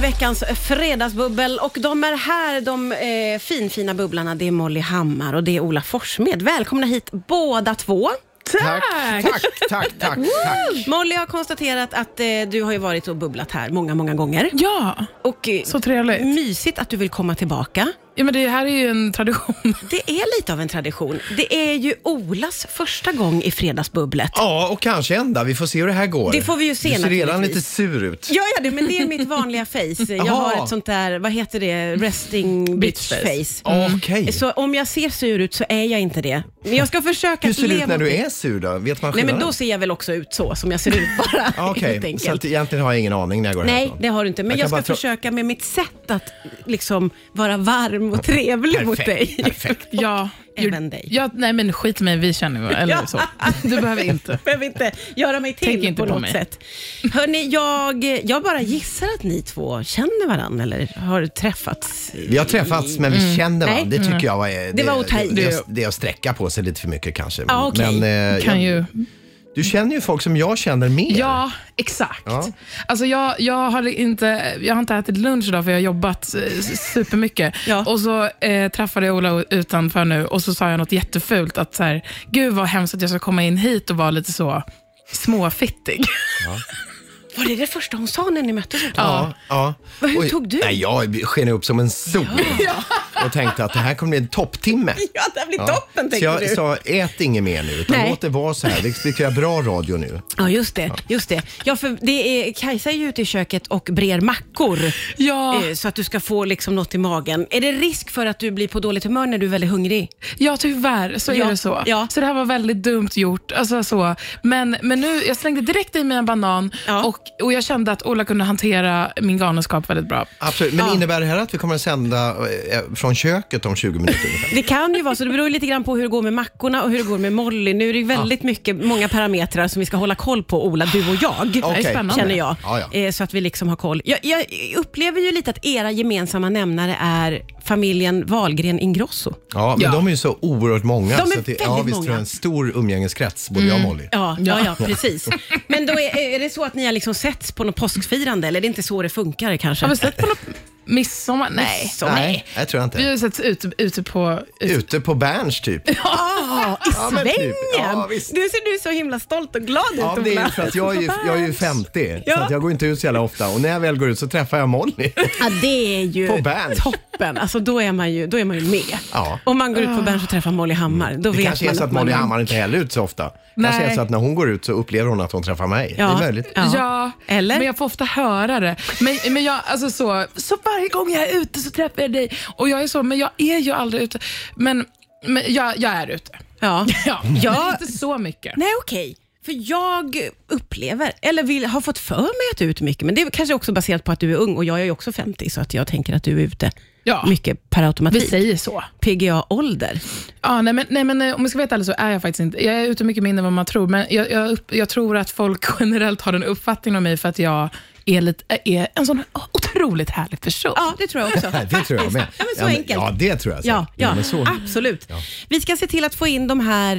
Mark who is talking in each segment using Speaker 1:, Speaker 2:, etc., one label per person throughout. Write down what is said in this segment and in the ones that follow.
Speaker 1: veckans fredagsbubbel och de är här, de eh, finfina bubblarna. Det är Molly Hammar och det är Ola Forssmed. Välkomna hit båda två.
Speaker 2: Tack, tack, tack, tack. tack.
Speaker 1: Molly har konstaterat att eh, du har ju varit och bubblat här många, många gånger.
Speaker 3: Ja,
Speaker 1: Och, eh,
Speaker 3: så trevligt.
Speaker 1: Mysigt att du vill komma tillbaka.
Speaker 3: Ja, men det här är ju en tradition.
Speaker 1: Det är lite av en tradition. Det är ju Olas första gång i Fredagsbubblet.
Speaker 2: Ja, och kanske ända. Vi får se hur det här går.
Speaker 1: Det får vi ju se,
Speaker 2: Du ser redan
Speaker 1: naturligtvis.
Speaker 2: lite sur ut.
Speaker 1: Ja, ja, det, men det är mitt vanliga face. Jag
Speaker 2: Jaha.
Speaker 1: har ett sånt där, vad heter det, resting bitch
Speaker 3: Bitch face.
Speaker 1: face.
Speaker 2: Okej.
Speaker 1: Mm. Så om jag ser sur ut så är jag inte det. Men jag ska försöka
Speaker 2: Hur
Speaker 1: att
Speaker 2: ser det
Speaker 1: leva
Speaker 2: ut när
Speaker 1: mot
Speaker 2: du
Speaker 1: det.
Speaker 2: är sur då? Vet man
Speaker 1: Nej
Speaker 2: skillnaden?
Speaker 1: men då ser jag väl också ut så som jag ser ut bara.
Speaker 2: Ah, Okej,
Speaker 1: helt
Speaker 2: så
Speaker 1: enkelt.
Speaker 2: att egentligen har jag ingen aning när jag går
Speaker 1: Nej,
Speaker 2: härifrån.
Speaker 1: det har du inte. Men
Speaker 2: Jag
Speaker 1: jag,
Speaker 2: kan
Speaker 1: ska
Speaker 2: bara tro-
Speaker 1: försöka med mitt sätt att liksom vara varm och trevlig mot
Speaker 2: Perfekt,
Speaker 1: dig.
Speaker 2: perfekt.
Speaker 3: Ja,
Speaker 1: Även dig.
Speaker 3: Ja, nej, men skit i mig, vi känner varandra. Eller
Speaker 1: Ja.
Speaker 3: så. Du behöver inte.
Speaker 1: Behöver inte göra mig till
Speaker 3: Tänk inte
Speaker 1: på
Speaker 3: på
Speaker 1: något
Speaker 3: mig.
Speaker 1: sätt. Hörni, jag, jag bara gissar att ni två känner varandra eller har träffats.
Speaker 2: Vi har träffats men vi känner varandra.
Speaker 1: Mm. Nej. Mm.
Speaker 2: Det tycker jag var... Det,
Speaker 1: var att ta i.
Speaker 2: det, det, det är att sträcka på sig lite för mycket kanske.
Speaker 1: Ja, okej.
Speaker 2: Men, eh,
Speaker 3: Kan
Speaker 2: jag,
Speaker 3: ju.
Speaker 2: Du känner ju folk som jag känner mer.
Speaker 3: Ja, exakt.
Speaker 2: Ja.
Speaker 3: Alltså jag, jag, har inte, jag har inte ätit lunch idag för jag har jobbat eh, supermycket.
Speaker 1: Ja.
Speaker 3: Och så eh, träffade jag Ola utanför nu och så sa jag något jättefult. Att så här, Gud vad hemskt att jag ska komma in hit och vara lite så småfittig.
Speaker 1: Var det det första hon sa när ni möttes?
Speaker 2: Ja, ja.
Speaker 1: Vad- hur
Speaker 2: Oj,
Speaker 1: tog du?
Speaker 2: Nej, jag sken upp som en sol och tänkte att det här kommer bli en topptimme.
Speaker 1: Ja, det här blir
Speaker 2: Ja.
Speaker 1: toppen
Speaker 2: så
Speaker 1: tänker
Speaker 2: jag
Speaker 1: du.
Speaker 2: sa, ät inget mer nu, utan
Speaker 1: Nej.
Speaker 2: låt det vara så här. Det tycker jag är bra radio nu.
Speaker 1: Ja, just det. Just det. Ja, för det är, Kajsa är ju ute i köket och brer mackor
Speaker 3: Ja.
Speaker 1: eh, så att du ska få liksom något i magen. Är det risk för att du blir på dåligt humör när du är väldigt hungrig?
Speaker 3: Ja, tyvärr så
Speaker 1: Ja,
Speaker 3: är det så.
Speaker 1: ja.
Speaker 3: Så det här var väldigt dumt gjort. Alltså, så. Men, men nu, jag slängde direkt i mig en banan
Speaker 1: Ja.
Speaker 3: och, och jag kände att Ola kunde hantera min galenskap väldigt bra.
Speaker 2: Absolut. Men innebär det här att vi kommer att sända eh, från köket om 20 minuter ungefär?
Speaker 1: Det kan ju vara så. Det beror ju lite grann på hur det går med mackorna och hur det går med Molly. Nu är det ju väldigt mycket, många parametrar som vi ska hålla koll på, Ola, du och jag.
Speaker 2: Okej.
Speaker 3: spännande.
Speaker 1: Känner jag.
Speaker 2: Ja, ja.
Speaker 1: Eh, Så att vi liksom har koll. Jag, jag upplever ju lite att era gemensamma nämnare är familjen Wahlgren Ingrosso.
Speaker 2: Ja, men
Speaker 3: Ja.
Speaker 2: de är ju så oerhört många.
Speaker 1: De är
Speaker 2: så att det, ja,
Speaker 1: väldigt
Speaker 2: visst tror
Speaker 1: många. Mm.
Speaker 2: jag en stor umgängeskrets, både jag och Molly.
Speaker 1: Ja, ja, ja, precis. Men då är, är det så att ni har liksom setts på något påskfirande eller är det inte så det funkar kanske?
Speaker 3: Har vi sett på något midsommar? Nej.
Speaker 1: Så, nej.
Speaker 2: det tror jag
Speaker 3: Vi har
Speaker 2: inte.
Speaker 3: ju sett ute, ute på... Ute.
Speaker 2: Ute på Berns typ.
Speaker 1: Ja, Ah, i
Speaker 2: Ja, men typ.
Speaker 1: svängen!
Speaker 2: Ja, visst.
Speaker 1: du ser du så himla stolt och glad ut
Speaker 2: Ja, det är
Speaker 1: Ola.
Speaker 2: för att jag är ju, jag är ju 50, så
Speaker 1: Ja.
Speaker 2: att jag går inte ut så jävla ofta. Och när jag väl går ut så träffar jag Molly.
Speaker 1: Ja, det är ju
Speaker 2: På Berns.
Speaker 1: toppen. Alltså, då, är man ju, då är man ju med.
Speaker 2: Ja. Mm.
Speaker 1: Om man går ut på Berns och träffar Molly Hammar, då
Speaker 2: Det
Speaker 1: vet
Speaker 2: kanske
Speaker 1: man
Speaker 2: är så att
Speaker 1: man
Speaker 2: Molly
Speaker 1: är-
Speaker 2: Hammar inte heller är ut så ofta. kanske
Speaker 3: Nej.
Speaker 2: är så att när hon går ut så upplever hon att hon träffar mig. Det
Speaker 1: Ja.
Speaker 2: är möjligt.
Speaker 1: Ja. Eller?
Speaker 3: Men jag får ofta höra det. Men, men jag, alltså så, så varje gång jag är ute så träffar jag dig. Och jag är så, men jag är ju aldrig ute. Men, men jag, jag är ute.
Speaker 1: Ja.
Speaker 3: Ja,
Speaker 1: Ja.
Speaker 3: Men inte så mycket.
Speaker 1: Nej, okej. För jag upplever, eller vill, har fått för mig att du är ute mycket, men det är kanske också baserat på att du är ung och jag är ju också 50, så att jag tänker att du är ute
Speaker 3: Ja.
Speaker 1: mycket per
Speaker 3: Vi
Speaker 1: automatik.
Speaker 3: säger så.
Speaker 1: PGA-ålder.
Speaker 3: Ja, nej, men, nej, men eh, om jag ska vara helt ärlig så är jag faktiskt inte... Jag är ute mycket mindre än vad man tror, men jag, jag, upp- jag tror att folk generellt har en uppfattning om mig för att jag är, lite, eh, är en sån otroligt härlig person.
Speaker 1: Ja, det tror jag också.
Speaker 2: Nej, Det tror jag med.
Speaker 1: Ja, men så
Speaker 2: ja,
Speaker 1: enkelt.
Speaker 2: ja, det tror jag. säkert.
Speaker 1: Ja, ja, Ah.
Speaker 2: men så.
Speaker 1: absolut. Vi ska se till att få in de här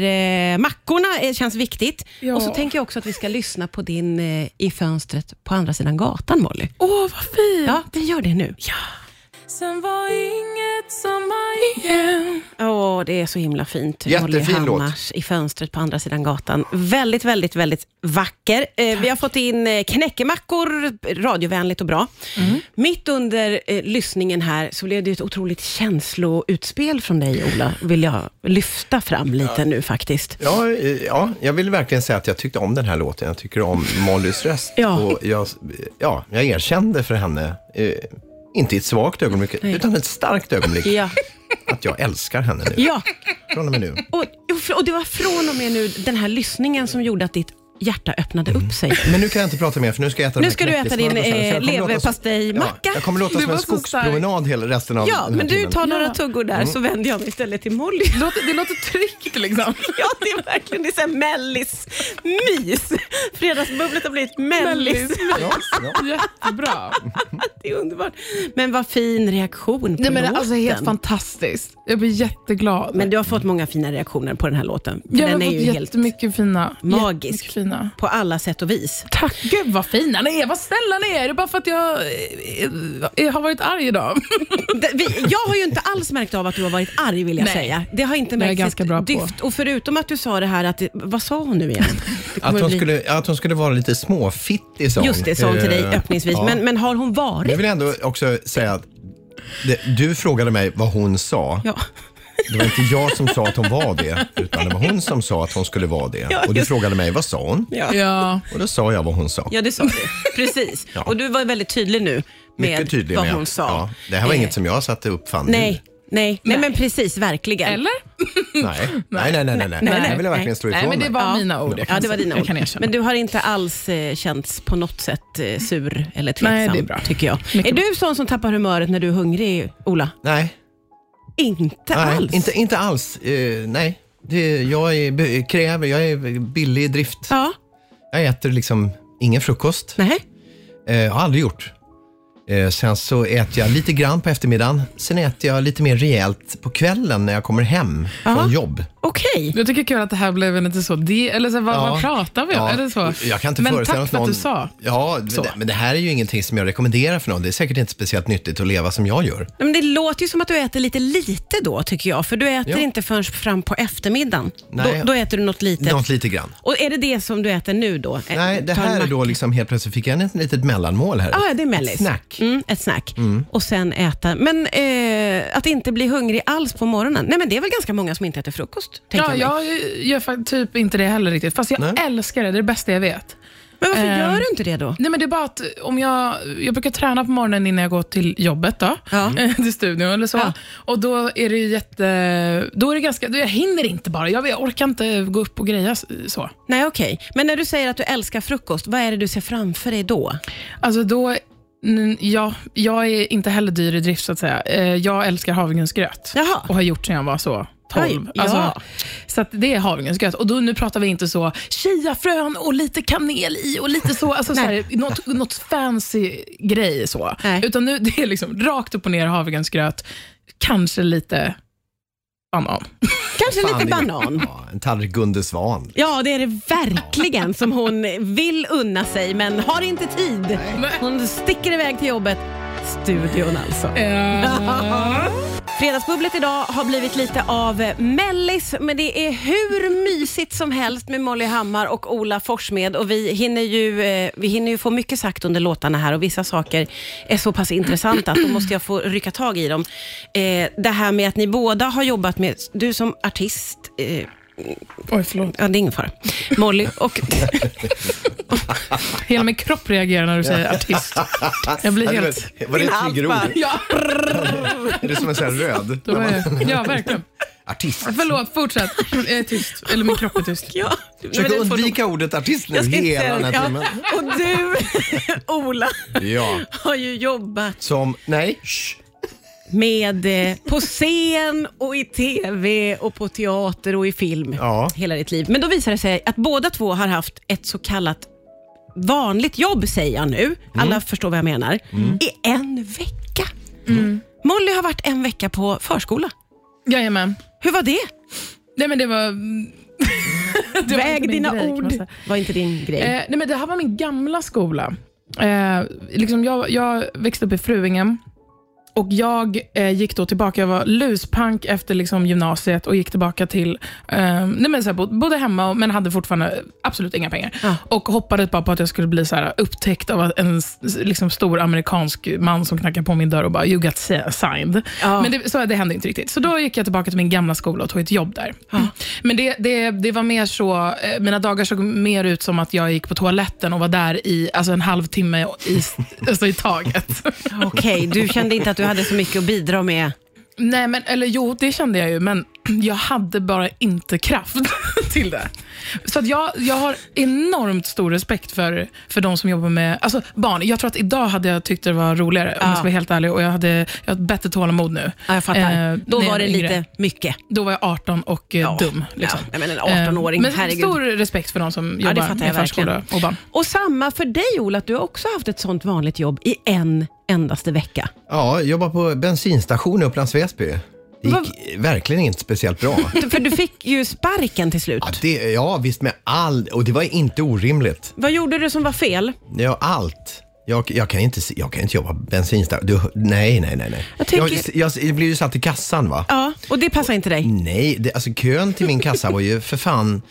Speaker 1: eh, mackorna, eh, känns viktigt.
Speaker 3: Ja.
Speaker 1: Och så tänker jag också att vi ska lyssna på din eh, I fönstret på andra sidan gatan, Molly.
Speaker 3: Åh, vad fint!
Speaker 1: Ja, vi gör det nu.
Speaker 3: Sen var inget samma igen.
Speaker 1: Åh, det är så himla fint.
Speaker 2: Jättefin
Speaker 1: Molly
Speaker 2: låt.
Speaker 1: Hammars I fönstret på andra sidan gatan. Väldigt, väldigt, väldigt vacker. Eh, vi har fått in eh, knäckemackor, radiovänligt och bra.
Speaker 2: Mm.
Speaker 1: Mitt under eh, lyssningen här så blev det ju ett otroligt känsloutspel från dig, Ola. Vill jag lyfta fram lite nu faktiskt.
Speaker 2: Ja, eh, ja, jag vill verkligen säga att jag tyckte om den här låten. Jag tycker om Mollys röst.
Speaker 1: Ja.
Speaker 2: Och jag, ja, jag erkände för henne, eh, inte i ett svagt ögonblick, utan ett starkt ögonblick,
Speaker 1: Ja.
Speaker 2: att jag älskar henne nu.
Speaker 1: ja.
Speaker 2: Från och med nu.
Speaker 1: Och, och fr- och det var från och med nu den här lyssningen som gjorde att ditt hjärta öppnade
Speaker 2: Mm.
Speaker 1: upp sig.
Speaker 2: Men nu kan jag inte prata mer, för nu ska jag äta de
Speaker 1: Nu
Speaker 2: här
Speaker 1: ska du äta din
Speaker 2: knäckesmörgåsarna, så jag
Speaker 1: eh,
Speaker 2: kommer låta som-
Speaker 1: leverpastejmacka.
Speaker 2: Ja, jag kommer låta
Speaker 3: Det
Speaker 2: som
Speaker 3: var
Speaker 2: en
Speaker 3: så
Speaker 2: skogspromenad hela resten av
Speaker 1: Ja,
Speaker 2: den här Mm.
Speaker 1: men du
Speaker 2: timmen.
Speaker 1: tar några
Speaker 3: Ja.
Speaker 1: tuggor där så vänder jag mig istället till Molly.
Speaker 3: Det låter, det låter tryggt liksom.
Speaker 1: Ja, det är verkligen det är så här mellis mys. Fredagsbubblet har blivit mellis.
Speaker 3: Väldigt
Speaker 2: Ja, ja.
Speaker 3: Jättebra.
Speaker 1: det är underbart. Men vad fin reaktion på
Speaker 3: Nej, men det är
Speaker 1: låten.
Speaker 3: alltså helt fantastiskt. Jag blir jätteglad.
Speaker 1: Men du har fått många fina reaktioner på den här låten. För
Speaker 3: jag har
Speaker 1: den är
Speaker 3: fått
Speaker 1: ju helt
Speaker 3: jättemycket fina.
Speaker 1: magisk.
Speaker 3: jättemycket Fina.
Speaker 1: på alla sätt och vis.
Speaker 3: Tack, gud vad fina ni är. Vad snälla ni är. Det är bara för att jag, eh, eh, har varit arg idag.
Speaker 1: Det- vi- Jag har ju inte alls märkt av att du har varit arg vill jag
Speaker 3: Nej.
Speaker 1: säga. Det har inte
Speaker 3: Det är
Speaker 1: märkts
Speaker 3: ganska
Speaker 1: ett
Speaker 3: bra på.
Speaker 1: dyft. Och förutom att du sa det här att, det- vad sa hon nu igen?
Speaker 2: Att hon,
Speaker 3: bli-
Speaker 2: skulle, att hon skulle vara lite småfittig sa hon.
Speaker 1: Just det, sa hon till dig
Speaker 2: Eh,
Speaker 1: öppningsvis.
Speaker 2: ja.
Speaker 1: Men, men har hon
Speaker 2: Men Jag
Speaker 1: varit?
Speaker 2: vill ändå också säga att det, du frågade mig vad hon sa.
Speaker 1: Ja.
Speaker 2: Det var inte jag som sa att hon var det, utan det var hon som sa att hon skulle vara det.
Speaker 1: Ja,
Speaker 2: Och du
Speaker 1: just-
Speaker 2: frågade mig, vad sa hon?
Speaker 1: Ja.
Speaker 3: Ja.
Speaker 2: Och då sa jag vad hon sa.
Speaker 1: Ja, det sa du. Precis. Och du var väldigt tydlig nu med
Speaker 2: Mycket tydlig
Speaker 1: vad
Speaker 2: med.
Speaker 1: hon sa.
Speaker 2: Ja, det här var
Speaker 1: Eh,
Speaker 2: inget som jag satte upp fan
Speaker 1: Nej, nej, nej, men precis, verkligen.
Speaker 3: Eller?
Speaker 2: nu. Nej. Nej, nej, nej, nej, nej.
Speaker 1: nej,
Speaker 2: Det vill jag
Speaker 1: nej.
Speaker 2: verkligen slå ifrån
Speaker 3: Nej, men det
Speaker 2: mig.
Speaker 3: var mina ord. Jag kan
Speaker 1: Ja, det var dina
Speaker 3: jag
Speaker 1: ord.
Speaker 3: kan erkänna.
Speaker 1: Men du har inte alls eh, känts på något sätt eh, sur eller tveksam,
Speaker 3: Nej, det är bra.
Speaker 1: tycker jag.
Speaker 3: Mycket
Speaker 1: är du sån som tappar humöret när du är hungrig, Ola?
Speaker 2: Nej,
Speaker 1: Inte
Speaker 2: nej
Speaker 1: alls.
Speaker 2: inte, inte alls. Eh, nej. Det, jag är, b- kräver, jag är billig i drift.
Speaker 1: Ja,
Speaker 2: Jag äter liksom ingen frukost.
Speaker 1: nej.
Speaker 2: Eh, har aldrig gjort. Eh, sen så äter jag lite grann på eftermiddagen. Sen äter jag lite mer rejält på kvällen när jag kommer hem
Speaker 1: Ja.
Speaker 2: från jobb.
Speaker 1: Okej.
Speaker 3: Jag tycker kul att det här blev en lite så, det, eller så, vad,
Speaker 2: Ja.
Speaker 3: vad pratar vi om? Eller så.
Speaker 2: Jag kan inte
Speaker 3: men
Speaker 2: föreställa
Speaker 3: tack
Speaker 2: mig
Speaker 3: för
Speaker 2: någon...
Speaker 3: att du sa.
Speaker 2: Ja, men
Speaker 3: Så.
Speaker 2: det, men det här är ju ingenting som jag rekommenderar för någon. Det är säkert inte speciellt nyttigt att leva som jag gör.
Speaker 1: Nej, Men det låter ju som att du äter lite lite då, tycker jag. För du äter
Speaker 2: Ja.
Speaker 1: inte förrän fram på eftermiddagen.
Speaker 2: Nej.
Speaker 1: Då, då äter du något litet.
Speaker 2: Något lite grann.
Speaker 1: Och är det det som du äter nu då? Eh,
Speaker 2: Nej, det
Speaker 1: ta en
Speaker 2: här är
Speaker 1: macka.
Speaker 2: då liksom helt plötsligt fick jag ett litet mellanmål här.
Speaker 1: Ah, ja, det är mellis.
Speaker 2: Ett snack.
Speaker 1: Mm, ett snack. Och sen äta. Men eh, att inte bli hungrig alls på morgonen. Nej, men det är väl ganska många som inte äter frukost? tänker
Speaker 3: Ja,
Speaker 1: jag mig.
Speaker 3: jag gör fa- typ inte det heller riktigt, fast jag
Speaker 2: Nej.
Speaker 3: älskar det. Det är det bästa jag vet.
Speaker 1: Men varför
Speaker 3: Ehm.
Speaker 1: gör du inte det då?
Speaker 3: Nej, men det är bara att eh, om jag, jag brukar träna på morgonen innan jag går till jobbet, då, eh,
Speaker 1: Ja.
Speaker 3: till studion eller så.
Speaker 1: Ja.
Speaker 3: Och då är det ju jätte... Då är det ganska, då jag hinner inte bara. Jag, jag orkar inte gå upp och greja s- så.
Speaker 1: Nej, okej. Men när du säger att du älskar frukost, vad är det du ser framför dig då?
Speaker 3: Alltså då, n- ja, jag är inte heller dyr i drift så att säga. Eh, Jag älskar havregrynsgröt
Speaker 1: Jaha.
Speaker 3: och har gjort sedan jag var så 12.
Speaker 1: Oj, ja.
Speaker 3: Alltså, så att det är havregrynsgröt. Och då, nu pratar vi inte så chiafrön och lite kanel i och lite så, alltså, så här, något, något fancy grej så.
Speaker 1: Nej.
Speaker 3: Utan nu det är liksom rakt upp och ner havregrynsgröt, kanske lite banan.
Speaker 1: Kanske
Speaker 2: Fan,
Speaker 1: lite
Speaker 2: det är-
Speaker 1: banan.
Speaker 2: Ja, en tallrik Gunde Svan.
Speaker 1: Ja, det är det verkligen som hon vill unna sig, men har inte tid. Hon sticker iväg till jobbet. Studion alltså.
Speaker 3: Eh,
Speaker 1: Fredagsbubblet idag har blivit lite av eh, mellis, men det är hur mysigt som helst med Molly Hammar och Ola Forsmed. Och vi, hinner ju, eh, vi hinner ju få mycket sagt under låtarna här och vissa saker är så pass intressanta att då måste jag få rycka tag i dem. Eh, det här med att ni båda har jobbat med, du som artist, eh,
Speaker 3: Oj, förlåt.
Speaker 1: ja, det är ingen fara, Molly och...
Speaker 3: Hela min kropp reagerar när du säger artist. Jag blir
Speaker 2: Ja, det
Speaker 3: helt...
Speaker 2: var- Var det ett triggerord?
Speaker 3: Ja,
Speaker 2: Är det som en sån här röd?
Speaker 3: då är jag, ja, verkligen.
Speaker 2: Artist.
Speaker 3: Förlåt, fortsätt. Jag är tyst. Eller min kropp är tyst.
Speaker 1: Ja,
Speaker 2: Försök
Speaker 1: men du får-
Speaker 2: undvika ordet artist nu
Speaker 1: Jag ska inte säga-
Speaker 2: hela den här
Speaker 1: ja.
Speaker 2: timmen.
Speaker 1: Och du, Ola,
Speaker 2: Ja.
Speaker 1: har ju jobbat
Speaker 2: Som, nej, shh.
Speaker 1: med eh, på scen och i tv och på teater och i film
Speaker 2: Ja.
Speaker 1: hela ditt liv. Men då visar det sig att båda två har haft ett så kallat vanligt jobb, säger jag nu. Alla förstår vad jag menar. I en vecka.
Speaker 3: Mm.
Speaker 1: Molly har varit en vecka på förskola.
Speaker 3: Jajamän.
Speaker 1: Hur var det?
Speaker 3: Nej, men det var... det var inte
Speaker 1: Väg
Speaker 3: min
Speaker 1: dina
Speaker 3: grej, kan man
Speaker 1: ord.
Speaker 3: säga.
Speaker 1: Var inte din grej.
Speaker 3: Eh, nej, men det här var min gamla skola. Eh, liksom jag, jag växte upp i Fruingen. Och Jag eh, gick då tillbaka, jag var luspank efter liksom gymnasiet och gick tillbaka till... Eh, nej men så här, bo- bodde hemma, och, men hade fortfarande absolut inga pengar.
Speaker 1: Ja.
Speaker 3: Och hoppades bara på att jag skulle bli så här, upptäckt av en s- liksom, stor amerikansk man som knackade på min dörr och bara “you got si- signed”.
Speaker 1: Ja.
Speaker 3: Men det, så, det hände inte riktigt. Så då gick jag tillbaka till min gamla skola och tog ett jobb där. Men det, det, det var mer så, eh, mina dagar såg mer ut som att jag gick på toaletten och var där i alltså en halvtimme i, alltså, i taget.
Speaker 1: Okej, du kände inte att du hade så mycket att bidra med.
Speaker 3: Nej, men eller jo, det kände jag ju, men jag hade bara inte kraft till det. Så att jag, jag har enormt stor respekt för, för de som jobbar med alltså barn. Jag tror att idag hade jag tyckt det var roligare, om
Speaker 1: Ja.
Speaker 3: jag ska vara helt ärlig. Och jag hade, jag hade bättre tålamod nu.
Speaker 1: Ja, jag fattar.
Speaker 3: Eh,
Speaker 1: Då
Speaker 3: när jag
Speaker 1: var det
Speaker 3: yngre.
Speaker 1: lite mycket.
Speaker 3: Då var jag 18 och eh, dum. Liksom.
Speaker 1: Ja, men en 18-åring,
Speaker 3: Eh, Men
Speaker 1: herregud.
Speaker 3: stor respekt för de som
Speaker 1: Ja, det
Speaker 3: jobbar
Speaker 1: fattar jag
Speaker 3: med förskola
Speaker 1: verkligen.
Speaker 3: och barn.
Speaker 1: Och samma för dig Ola, att du har också haft ett sånt vanligt jobb i en endaste vecka.
Speaker 2: Ja, jobbar på bensinstation i Upplands Väsby. Det
Speaker 1: Vad-
Speaker 2: gick verkligen inte speciellt bra.
Speaker 1: Du- För du fick ju sparken till slut.
Speaker 2: Ja, det, ja, visst med all... Och det var inte orimligt.
Speaker 1: Vad gjorde du som var fel?
Speaker 2: Ja, allt. Jag, jag, kan inte, se- jag kan inte jobba på bensinstation. Du, nej, nej, nej. nej.
Speaker 1: Jag tänker-
Speaker 2: jag, jag, jag blev ju satt i kassan va?
Speaker 1: Ja, och det passar inte dig.
Speaker 2: Nej, det, alltså kön till min kassa var ju för fan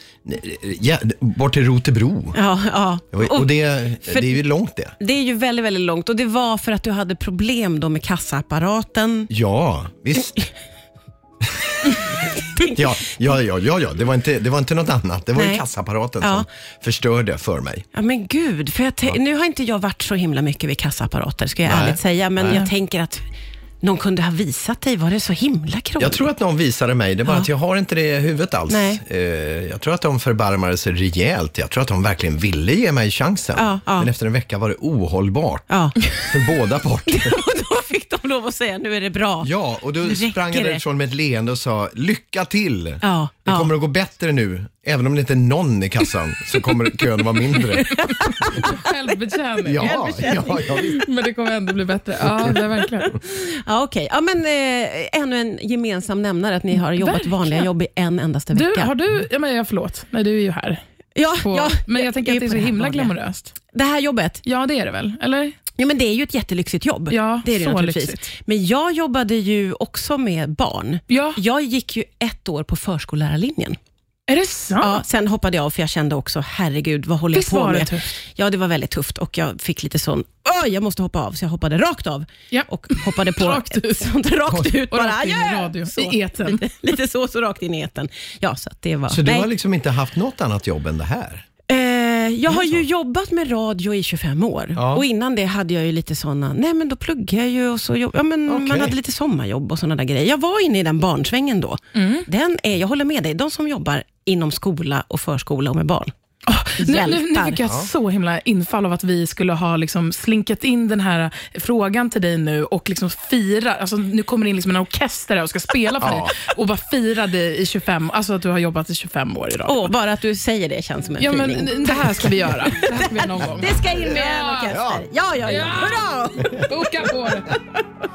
Speaker 2: ja, bort till Rotebro.
Speaker 1: Ja, ja.
Speaker 2: Det var- Och det,
Speaker 1: för-
Speaker 2: det är ju långt det.
Speaker 1: Det är ju väldigt, väldigt långt och det var för att du hade problem då med kassaapparaten.
Speaker 2: Ja, visst. ja, ja, ja, ja, ja. Det, var inte, det var inte något annat. Det var ju
Speaker 1: Nej.
Speaker 2: kassaapparaten
Speaker 1: Ja.
Speaker 2: som förstörde för mig.
Speaker 1: Ja, men gud, för jag tän- nu har inte jag varit så himla mycket vid kassaapparater, ska jag
Speaker 2: Nej.
Speaker 1: ärligt säga, men
Speaker 2: Nej.
Speaker 1: jag tänker att någon kunde ha visat dig, var det så himla krångligt?
Speaker 2: Jag tror att någon visade mig, det är bara att jag har inte det i huvudet alls.
Speaker 1: Nej.
Speaker 2: Eh, Jag tror att de förbarmade sig rejält. Jag tror att de verkligen ville ge mig chansen.
Speaker 1: Ja, ja.
Speaker 2: Men efter en vecka var det ohållbart
Speaker 1: Ja.
Speaker 2: för båda parter.
Speaker 1: och då fick de lov att säga, nu är det bra.
Speaker 2: Ja, och
Speaker 1: Nu
Speaker 2: då
Speaker 1: räcker
Speaker 2: sprang
Speaker 1: det.
Speaker 2: jag därifrån med ett leende och sa lycka till.
Speaker 1: Ja,
Speaker 2: det
Speaker 1: ja.
Speaker 2: kommer att gå bättre nu. Även om det inte är någon i kassan så kommer kön vara mindre.
Speaker 3: Självbetjäning.
Speaker 2: Ja, ja, ja, visst.
Speaker 3: Men det kommer ändå bli bättre. Ja, det är verkligen.
Speaker 1: Ja, okej. Ja, men eh, ännu en gemensam nämnare, att ni har jobbat
Speaker 3: Verkligen.
Speaker 1: vanliga jobb i en endaste vecka.
Speaker 3: Du, har du, ja, men jag, förlåt, nej du är ju här.
Speaker 1: ja,
Speaker 3: På,
Speaker 1: ja,
Speaker 3: men jag tänker att det är
Speaker 1: på
Speaker 3: så
Speaker 1: här
Speaker 3: himla
Speaker 1: vanliga.
Speaker 3: glamoröst.
Speaker 1: Det här jobbet,
Speaker 3: Ja, det är det väl? Eller?
Speaker 1: ja, men det är ju ett jättelyxigt jobb.
Speaker 3: Ja,
Speaker 1: det är det
Speaker 3: så
Speaker 1: naturligtvis.
Speaker 3: lyxigt.
Speaker 1: Men jag jobbade ju också med barn.
Speaker 3: Ja.
Speaker 1: Jag gick ju ett år på förskollärarlinjen.
Speaker 3: Är det sant?
Speaker 1: Ja, sen hoppade jag av för jag kände också, herregud, vad håller
Speaker 3: Visst
Speaker 1: jag på
Speaker 3: var det
Speaker 1: med?
Speaker 3: tufft?
Speaker 1: Ja, det var väldigt tufft och jag fick lite sån, Åh, jag måste hoppa av, så jag hoppade rakt av.
Speaker 3: Ja.
Speaker 1: Och hoppade på
Speaker 3: Rakt ut.
Speaker 1: ett sånt rakt ut
Speaker 3: Och
Speaker 1: bara.
Speaker 3: rakt in i
Speaker 1: adjö!
Speaker 3: radio,
Speaker 1: så,
Speaker 3: i etern.
Speaker 1: Lite, lite så, så rakt in i etern. Ja, så att det var...
Speaker 2: Så du
Speaker 1: nej.
Speaker 2: har liksom inte haft något annat jobb än det här?
Speaker 1: Eh, jag har ju jobbat med radio i 25 år
Speaker 2: Ja.
Speaker 1: och innan det hade jag ju lite såna, nej men då pluggade jag ju och så jobb, ja, men man
Speaker 2: Okej.
Speaker 1: hade lite sommarjobb och såna där grejer. Jag var inne i den barnsvängen då.
Speaker 3: Mm.
Speaker 1: Den är, jag håller med dig, de som jobbar inom skola och förskola och med barn.
Speaker 3: Nu, nu, nu
Speaker 1: Hjältar.
Speaker 3: fick jag så himla infall av att vi skulle ha liksom slinkat in den här frågan till dig nu och liksom fira. Alltså, nu kommer det in liksom en orkester här och ska spela för dig och bara fira dig i 25, alltså att du har jobbat i 25 år idag.
Speaker 1: Åh, bara att du säger det känns som en
Speaker 3: ja, men
Speaker 1: tidning.
Speaker 3: det här ska vi göra. Det här ska vi göra någon gång.
Speaker 1: Det ska in med en orkester. Ja, ja, ja.
Speaker 3: Ja.
Speaker 1: Hurra!
Speaker 3: Boka på det.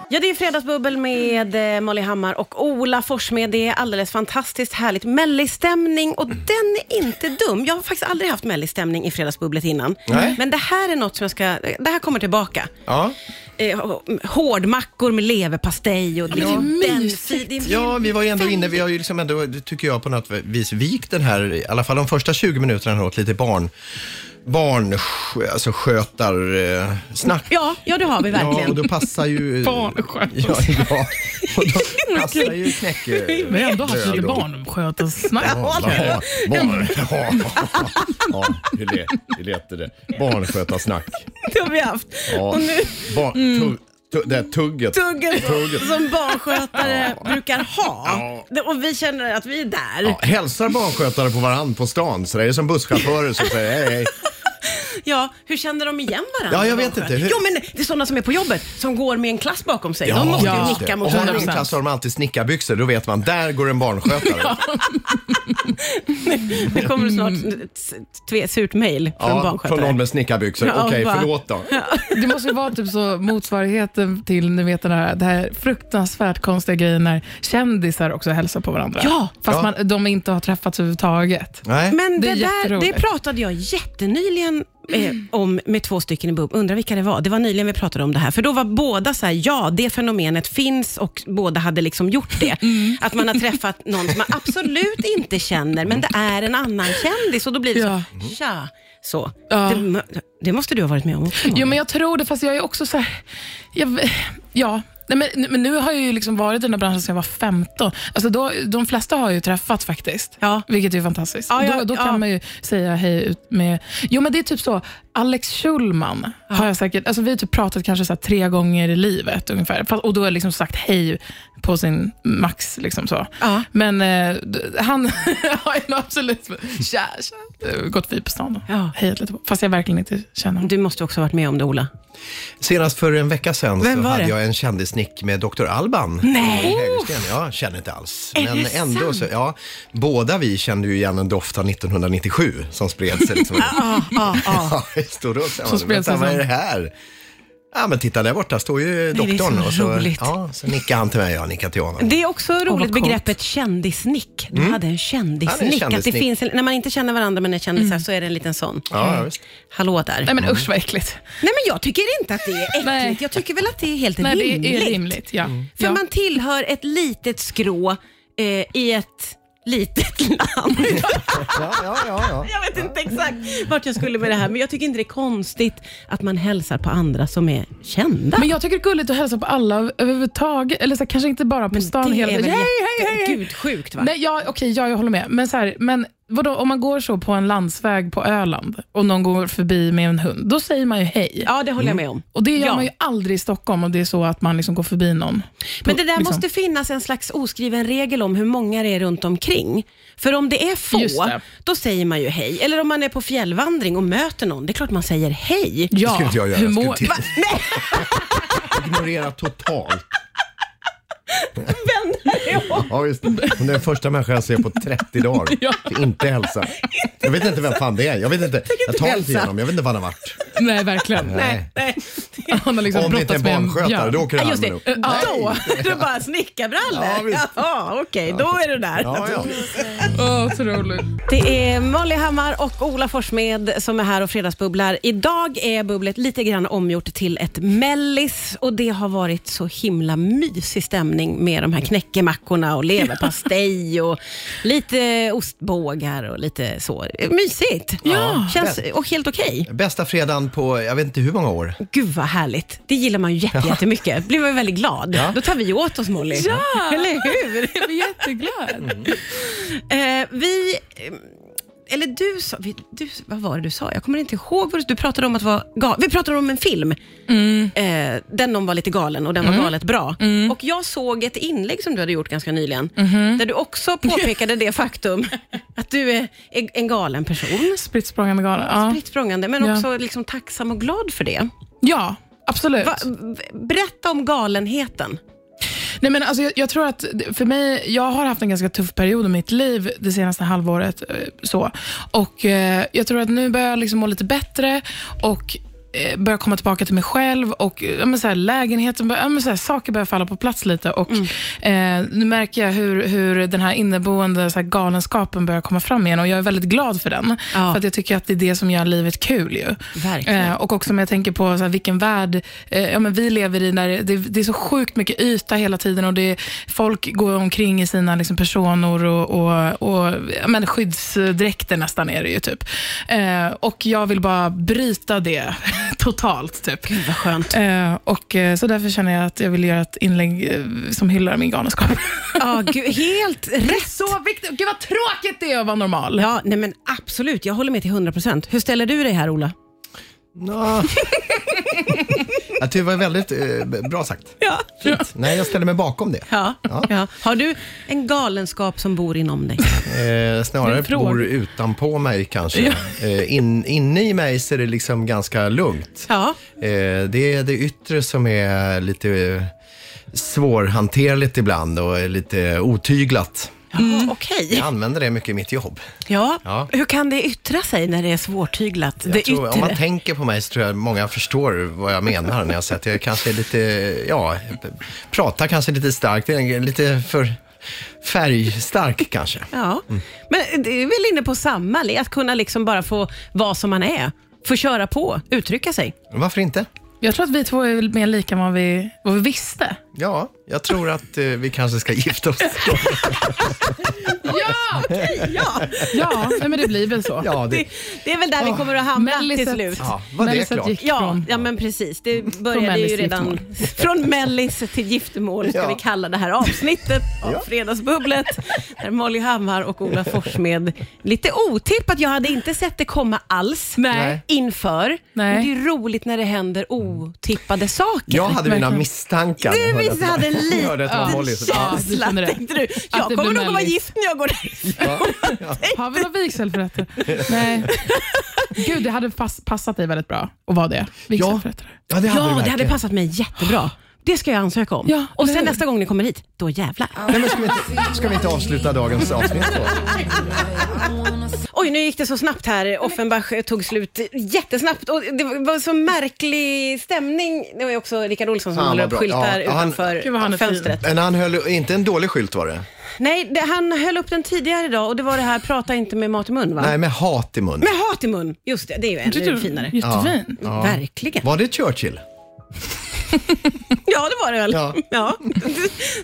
Speaker 1: Ja, det är Fredagsbubbel med eh, Molly Hammar och Ola Forssmed. Det är alldeles fantastiskt härligt. Mellistämning och den är inte dum. Jag har faktiskt aldrig haft mellistämning i Fredagsbubblet innan.
Speaker 2: Nej.
Speaker 1: Men det här är något som jag ska... Det här kommer tillbaka.
Speaker 2: Ja.
Speaker 1: Eh, hårdmackor med leverpastej och liksom
Speaker 3: det är
Speaker 1: den
Speaker 3: mysigt.
Speaker 1: si- det är-
Speaker 2: Ja, vi var ju ändå inne, vi har ju liksom ändå, tycker jag på något vis, vikt den här, i alla fall de första 20 minuterna åt lite barn, barn, alltså skötar, eh, snack.
Speaker 1: Ja, ja, det har vi
Speaker 2: Ja, och
Speaker 1: verkligen.
Speaker 2: då passar ju...
Speaker 3: Barnskötare.
Speaker 2: Ja, ja. Och då passar ju knäcke...
Speaker 3: Vi har ändå haft lite
Speaker 2: Lördag.
Speaker 3: barnskötarsnack.
Speaker 2: Ja, barn, ja, ja, hur lät, hur lät det? Barnskötarsnack.
Speaker 1: Det har vi haft.
Speaker 2: Ja.
Speaker 1: Och nu...
Speaker 2: Barn, tugg, tugg, det här tugget.
Speaker 1: Tuggen
Speaker 2: Tugget.
Speaker 1: som barnskötare brukar ha. Och vi känner att vi är där.
Speaker 2: Ja, hälsar barnskötare på varandra på stan, så det är som busschaufförer som säger hej, hej.
Speaker 1: Ja, hur känner de igen varandra?
Speaker 2: Ja, jag vet inte. Hur-
Speaker 1: Jo, men det är sådana som är på jobbet, som går med en klass bakom sig.
Speaker 2: Ja,
Speaker 1: de måste ju
Speaker 2: just
Speaker 1: nicka
Speaker 2: det.
Speaker 1: mot
Speaker 2: Och har de en
Speaker 1: varandra.
Speaker 2: klass har de alltid snickarbyxor, då vet man, där går en barnskötare.
Speaker 1: Nu kommer det snart ett tve- surt mejl från
Speaker 2: Mm. Ja, från
Speaker 1: barnskötare.
Speaker 2: någon med snickarbyxor.
Speaker 1: Ja, och
Speaker 2: Okej,
Speaker 1: bara-
Speaker 2: förlåt då.
Speaker 3: Det måste ju vara typ så motsvarigheten till ni vet, den här, det här fruktansvärt konstiga grejen när kändisar också hälsar på varandra.
Speaker 1: Ja.
Speaker 3: Fast
Speaker 2: Ja.
Speaker 3: Man, de inte har träffats överhuvudtaget.
Speaker 2: Nej.
Speaker 1: Men det,
Speaker 3: Det är
Speaker 1: där, det
Speaker 3: jätteroligt. Mm.
Speaker 1: pratade jag jättenyligen eh, om med två stycken i Bub. Undrar vilka det var. Det var nyligen vi pratade om det här. För då var båda så här, ja, det fenomenet finns och båda hade liksom gjort det.
Speaker 3: Mm.
Speaker 1: Att man har träffat någon som man absolut inte känner, men det är en annan kändis och då blir det
Speaker 3: Ja.
Speaker 1: så, tja. Så.
Speaker 3: Ja.
Speaker 1: Det, må- det måste du ha varit med om också.
Speaker 3: Jo, men jag tror det, fast jag är också så här... Jag, ja. Nej, men, men nu har jag ju liksom varit i den här branschen sedan jag var 15. Alltså då, de flesta har jag ju träffat faktiskt,
Speaker 1: Ja.
Speaker 3: vilket är ju fantastiskt.
Speaker 1: Ja, ja,
Speaker 3: då, då kan
Speaker 1: ja.
Speaker 3: man ju säga hej ut med... Jo, men det är typ så. Alex Schulman har jag säkert, alltså vi har typ pratat kanske så här tre gånger i livet ungefär. Fast- Och då har jag liksom sagt hej på sin max. Liksom så.
Speaker 1: Ja.
Speaker 3: Men eh, d- han har ju absolut tja, tja, gått förbi på stan och
Speaker 1: Ja.
Speaker 3: hejat lite på. Fast jag verkligen inte känner honom.
Speaker 1: Du måste också ha varit med om det, Ola.
Speaker 2: Senast för en vecka sedan
Speaker 1: Vem
Speaker 2: så
Speaker 1: var
Speaker 2: hade
Speaker 1: det?
Speaker 2: jag en kändisnick med Dr. Alban.
Speaker 1: Nej.
Speaker 2: i Hägersten. Jag känner inte alls.
Speaker 1: Är
Speaker 2: Men
Speaker 1: det
Speaker 2: ändå så, ja, båda vi kände ju igen en doft av 1997 som spred sig. Liksom.
Speaker 3: Ah,
Speaker 1: Ja, ja, ja.
Speaker 2: ja, i stora uppsatser.
Speaker 3: Som spred sig
Speaker 2: Vänta, vad är
Speaker 3: som-
Speaker 2: det här? Ja, men titta där borta står ju
Speaker 1: det är
Speaker 2: doktorn.
Speaker 1: så
Speaker 2: och så,
Speaker 1: roligt.
Speaker 2: ja, så nickar han till mig och jag nickar till honom.
Speaker 1: Det är också roligt
Speaker 3: coolt.
Speaker 1: begreppet kändisnick. Du hade en kändisnick.
Speaker 2: Mm. Ja, det är en
Speaker 1: Att det
Speaker 2: kändisnick.
Speaker 1: finns en, när man inte känner varandra men är kändisar så är det en liten sån.
Speaker 2: Ja, ja, visst.
Speaker 1: Hallå där.
Speaker 3: Mm. Nej men usch vad äckligt.
Speaker 1: Nej, men jag tycker inte att det är äckligt.
Speaker 3: Nej.
Speaker 1: Jag tycker väl att det är helt
Speaker 3: Nej,
Speaker 1: rimligt.
Speaker 3: det är rimligt. Mm. Ja.
Speaker 1: För
Speaker 3: ja.
Speaker 1: man tillhör ett litet skrå eh, i ett litet land.
Speaker 2: Ja, ja, ja, ja.
Speaker 1: jag vet inte exakt vart jag skulle med det här, men jag tycker inte det är konstigt att man hälsar på andra som är kända.
Speaker 3: Men jag tycker det är gulligt att hälsa på alla överhuvudtaget. Eller så här, kanske inte bara på stan
Speaker 1: det
Speaker 3: hela
Speaker 1: är
Speaker 3: tiden.
Speaker 1: väl
Speaker 3: Hej, hej,
Speaker 1: jätte-
Speaker 3: hej, hej.
Speaker 1: gudsjukt va?
Speaker 3: Nej, ja, okej, ja, jag håller med. Men, så här, men vadå, om man går så på en landsväg på Öland och någon går förbi med en hund, då säger man ju hej.
Speaker 1: Ja, det håller
Speaker 2: Mm.
Speaker 1: jag med om.
Speaker 3: Och Det gör
Speaker 1: Ja.
Speaker 3: man ju aldrig i Stockholm om det är så att man liksom går förbi någon.
Speaker 1: Men det
Speaker 3: På-
Speaker 1: där
Speaker 3: liksom.
Speaker 1: måste finnas en slags oskriven regel om hur många det är runt omkring. För om det är
Speaker 3: Just
Speaker 1: få,
Speaker 3: det.
Speaker 1: då säger man ju hej. Eller om man är på fjällvandring och möter någon, det är klart man säger hej.
Speaker 2: Det
Speaker 3: Ja,
Speaker 2: skulle inte jag göra.
Speaker 3: hur
Speaker 2: Jag skulle
Speaker 3: mår-
Speaker 2: till-
Speaker 1: Va? Nej,
Speaker 2: Ignorera totalt.
Speaker 1: vänd dig om.
Speaker 2: Ja, visst. Hon är den första människan jag ser på 30 dagar.
Speaker 3: Ja.
Speaker 2: Inte hälsa. Jag vet inte vem fan det är. Jag vet inte. Jag
Speaker 1: inte
Speaker 2: tar inte
Speaker 1: hälsa.
Speaker 2: igenom. Jag vet inte vad han har varit.
Speaker 3: Nej, verkligen.
Speaker 1: Nej, nej.
Speaker 3: Han har liksom
Speaker 2: Om det inte är
Speaker 3: brottats med en
Speaker 2: barnskötare,
Speaker 3: björn.
Speaker 2: då åker
Speaker 1: Ja,
Speaker 2: han
Speaker 1: just det.
Speaker 2: nog.
Speaker 1: Då, du bara snickarbrallor.
Speaker 2: Ja, visst.
Speaker 1: Jaha, okej, då är du där.
Speaker 2: Ja, ja.
Speaker 3: Åh, otroligt.
Speaker 1: Det är Molly Hammar och Ola Forssmed som är här och fredagsbubblar. Idag är bubblet lite grann omgjort till ett mellis och det har varit så himla mysig stämning med de här knäckemackorna och leverpastej och lite ostbågar och lite så. Mysigt!
Speaker 2: Ja.
Speaker 1: Känns, och helt okej.
Speaker 2: Bästa fredagen på jag vet inte hur många år.
Speaker 1: Gud vad härligt. Det gillar man ju jätte- jättemycket. Blir man ju väldigt glad. Då tar vi åt oss Molly.
Speaker 3: Ja.
Speaker 1: Eller hur?
Speaker 3: Jag blir jätteglad.
Speaker 1: Eh, vi... eh, Eller du sa... Vi, du, vad var det du sa? Jag kommer inte ihåg. Vad du, du pratade om att vara gal, Vi pratade om en film.
Speaker 3: Mm.
Speaker 1: Eh, den någon var lite galen och den var galet bra. Och Jag såg ett inlägg som du hade gjort ganska nyligen,
Speaker 3: Mm-hmm.
Speaker 1: där du också påpekade det faktum att du är är en galen person.
Speaker 3: Spritt språngande galen. Ja.
Speaker 1: Fritt språngande, men
Speaker 3: Ja.
Speaker 1: också liksom tacksam och glad för det.
Speaker 3: ja, absolut.
Speaker 1: Va, v- berätta om galenheten.
Speaker 3: Nej, men alltså, jag, jag tror att det- för mig, jag har haft en ganska tuff period i mitt liv det senaste halvåret. eh, Så. Och eh, Jag tror att nu börjar jag liksom må lite bättre och eh, börjar komma tillbaka till mig själv och eh, ja, men så här, lägenheten, börjar, ja, men så här, saker börjar falla på plats lite. Och
Speaker 1: Mm.
Speaker 3: eh, Nu märker jag hur, hur den här inneboende så här, galenskapen börjar komma fram igen och jag är väldigt glad för den.
Speaker 1: Ja.
Speaker 3: För att jag tycker att det är det som gör livet kul. ju.
Speaker 1: Verkligen.
Speaker 3: Eh, och också om jag tänker på så här, vilken värld eh, ja, men vi lever i, när det, det är så sjukt mycket yta hela tiden och det, är- folk går omkring i sina liksom, personer och, och, och ja, men skyddsdräkter nästan är det ju typ. Eh, och jag vill bara bryta det totalt. typ.
Speaker 1: Gud vad skönt.
Speaker 3: Eh, och, eh, så därför känner jag att jag vill göra ett inlägg eh, som hyllar min galenskap.
Speaker 1: Ja, gud, helt
Speaker 3: Det
Speaker 1: rätt.
Speaker 3: är så viktigt! Gud vad tråkigt det är att vara normal.
Speaker 1: Ja, nej men absolut. Jag håller med till 100%. Hur ställer du dig här, Ola?
Speaker 2: Nå. Jag tycker det var väldigt eh, bra sagt.
Speaker 1: Ja.
Speaker 2: Nej, jag ställer mig bakom det.
Speaker 1: Ja.
Speaker 2: Ja.
Speaker 1: Har du en galenskap som bor inom dig?
Speaker 2: Eh, snarare
Speaker 3: En fråga.
Speaker 2: bor utanpå mig kanske. Eh, in, inne i mig så är det liksom ganska lugnt.
Speaker 1: Ja.
Speaker 2: Eh, det är det yttre som är lite eh, svårhanterligt ibland och är lite otyglat.
Speaker 1: Okej.
Speaker 2: Jag använder det mycket i mitt jobb.
Speaker 1: Ja.
Speaker 2: Ja.
Speaker 1: Mm. Hur kan det yttra sig när det är svårtyglat?
Speaker 2: Jag
Speaker 1: det
Speaker 2: tror,
Speaker 1: yttre?
Speaker 2: om man tänker på mig så tror jag många förstår vad jag menar när jag säger att jag kanske är lite, ja, pratar kanske lite starkt, lite för färgstark kanske.
Speaker 1: Ja.
Speaker 2: Mm.
Speaker 1: Men det är väl inne på samma, li- att kunna liksom bara få vara som man är. Få köra på, uttrycka sig.
Speaker 2: Varför inte?
Speaker 3: Jag tror att vi två är mer lika än vad vi, vad vi visste.
Speaker 2: Ja, jag tror att eh, vi kanske ska gifta oss.
Speaker 1: Ja, okej, ja.
Speaker 3: Ja, nej, men det blir väl så.
Speaker 2: Ja, det,
Speaker 1: Det, det är väl där vi kommer att hamna till
Speaker 3: Melliset.
Speaker 1: slut.
Speaker 2: ja var det
Speaker 3: Melissa
Speaker 2: klart.
Speaker 3: gick
Speaker 1: Ja,
Speaker 3: från- Mm.
Speaker 1: ja, men precis. Det började
Speaker 3: Mellis
Speaker 1: ju
Speaker 3: till
Speaker 1: redan från mellis till giftermål, ska
Speaker 2: Ja.
Speaker 1: vi kalla det här avsnittet av
Speaker 2: Ja.
Speaker 1: Fredagsbubblet, där Molly Hammar och Ola Forssmed, lite otippat, jag hade inte sett det komma alls
Speaker 3: Nej.
Speaker 1: inför, men
Speaker 3: Nej.
Speaker 1: det är roligt när det händer otippade saker.
Speaker 2: Jag hade mina
Speaker 3: Verkligen.
Speaker 2: misstankar.
Speaker 1: Du visst hade en
Speaker 2: Jag hörde att det var
Speaker 1: liten
Speaker 2: Molly som- Ja.
Speaker 1: känsla,
Speaker 3: Ja, det
Speaker 1: tänkte du. Jag
Speaker 3: blir
Speaker 1: kommer nog att vara
Speaker 3: mellis.
Speaker 1: gift när jag går därifrån.
Speaker 2: Ja.
Speaker 3: Har vi några vigselförrättare? Nej. Gud, det hade pass, passat dig väldigt bra att vara det. Vigselförrättare.
Speaker 2: Ja, det hade,
Speaker 1: Ja,
Speaker 2: vi
Speaker 1: det hade
Speaker 2: verkligen.
Speaker 1: passat mig jättebra. Det ska jag ansöka om.
Speaker 3: Ja,
Speaker 1: och
Speaker 3: eller
Speaker 1: sen
Speaker 3: hur?
Speaker 1: nästa gång ni kommer hit, då jävlar.
Speaker 2: Nej, men ska, vi inte, ska vi inte avsluta dagens avsnitt då?
Speaker 1: Oj, nu gick det så snabbt här. Offenbach eh, tog slut jättesnabbt. Och det var så märklig stämning. Det var ju också Rickard Olsson som
Speaker 2: Fan,
Speaker 1: håller
Speaker 2: vad
Speaker 1: upp
Speaker 2: bra.
Speaker 1: skyltar
Speaker 2: Ja, han-
Speaker 3: Gud, vad
Speaker 1: utanför
Speaker 3: han är fin.
Speaker 1: fönstret.
Speaker 2: Men han höll, inte en dålig skylt var det?
Speaker 1: Nej, det, han höll upp den tidigare idag och det var det här, prata inte med mat i mun va?
Speaker 2: Nej, med hat i mun.
Speaker 1: Med hat i mun! Just det, det är ju
Speaker 3: Jag tyckte
Speaker 1: ännu
Speaker 3: du-
Speaker 1: finare.
Speaker 3: Jättefin.
Speaker 1: Verkligen.
Speaker 2: Var det Churchill?
Speaker 1: Ja, det var det väl. Ja.
Speaker 2: Ja.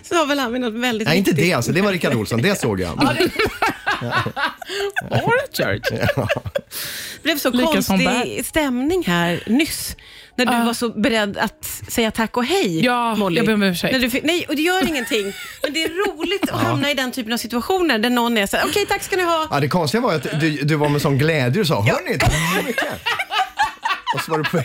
Speaker 1: Så har väl han med något väldigt
Speaker 2: Nej, inte
Speaker 1: viktigt.
Speaker 2: det alltså. Det var Rickard Olsson. Det såg jag.
Speaker 3: Church.
Speaker 1: Det blev så
Speaker 3: Lika som
Speaker 1: konstig
Speaker 3: bär.
Speaker 1: stämning här nyss. När du
Speaker 3: Ja.
Speaker 1: var så beredd att säga tack och hej,
Speaker 3: Ja,
Speaker 1: Molly.
Speaker 3: jag ber om ursäkt.
Speaker 1: När du fick, nej, och det gör ingenting. Men det är roligt att hamna i den typen av situationer där någon är så här, okej tack ska ni ha.
Speaker 2: Ja, det konstiga var ju att du, du var med sån glädje och sa “Hörni, tack så mycket!” Och så var du på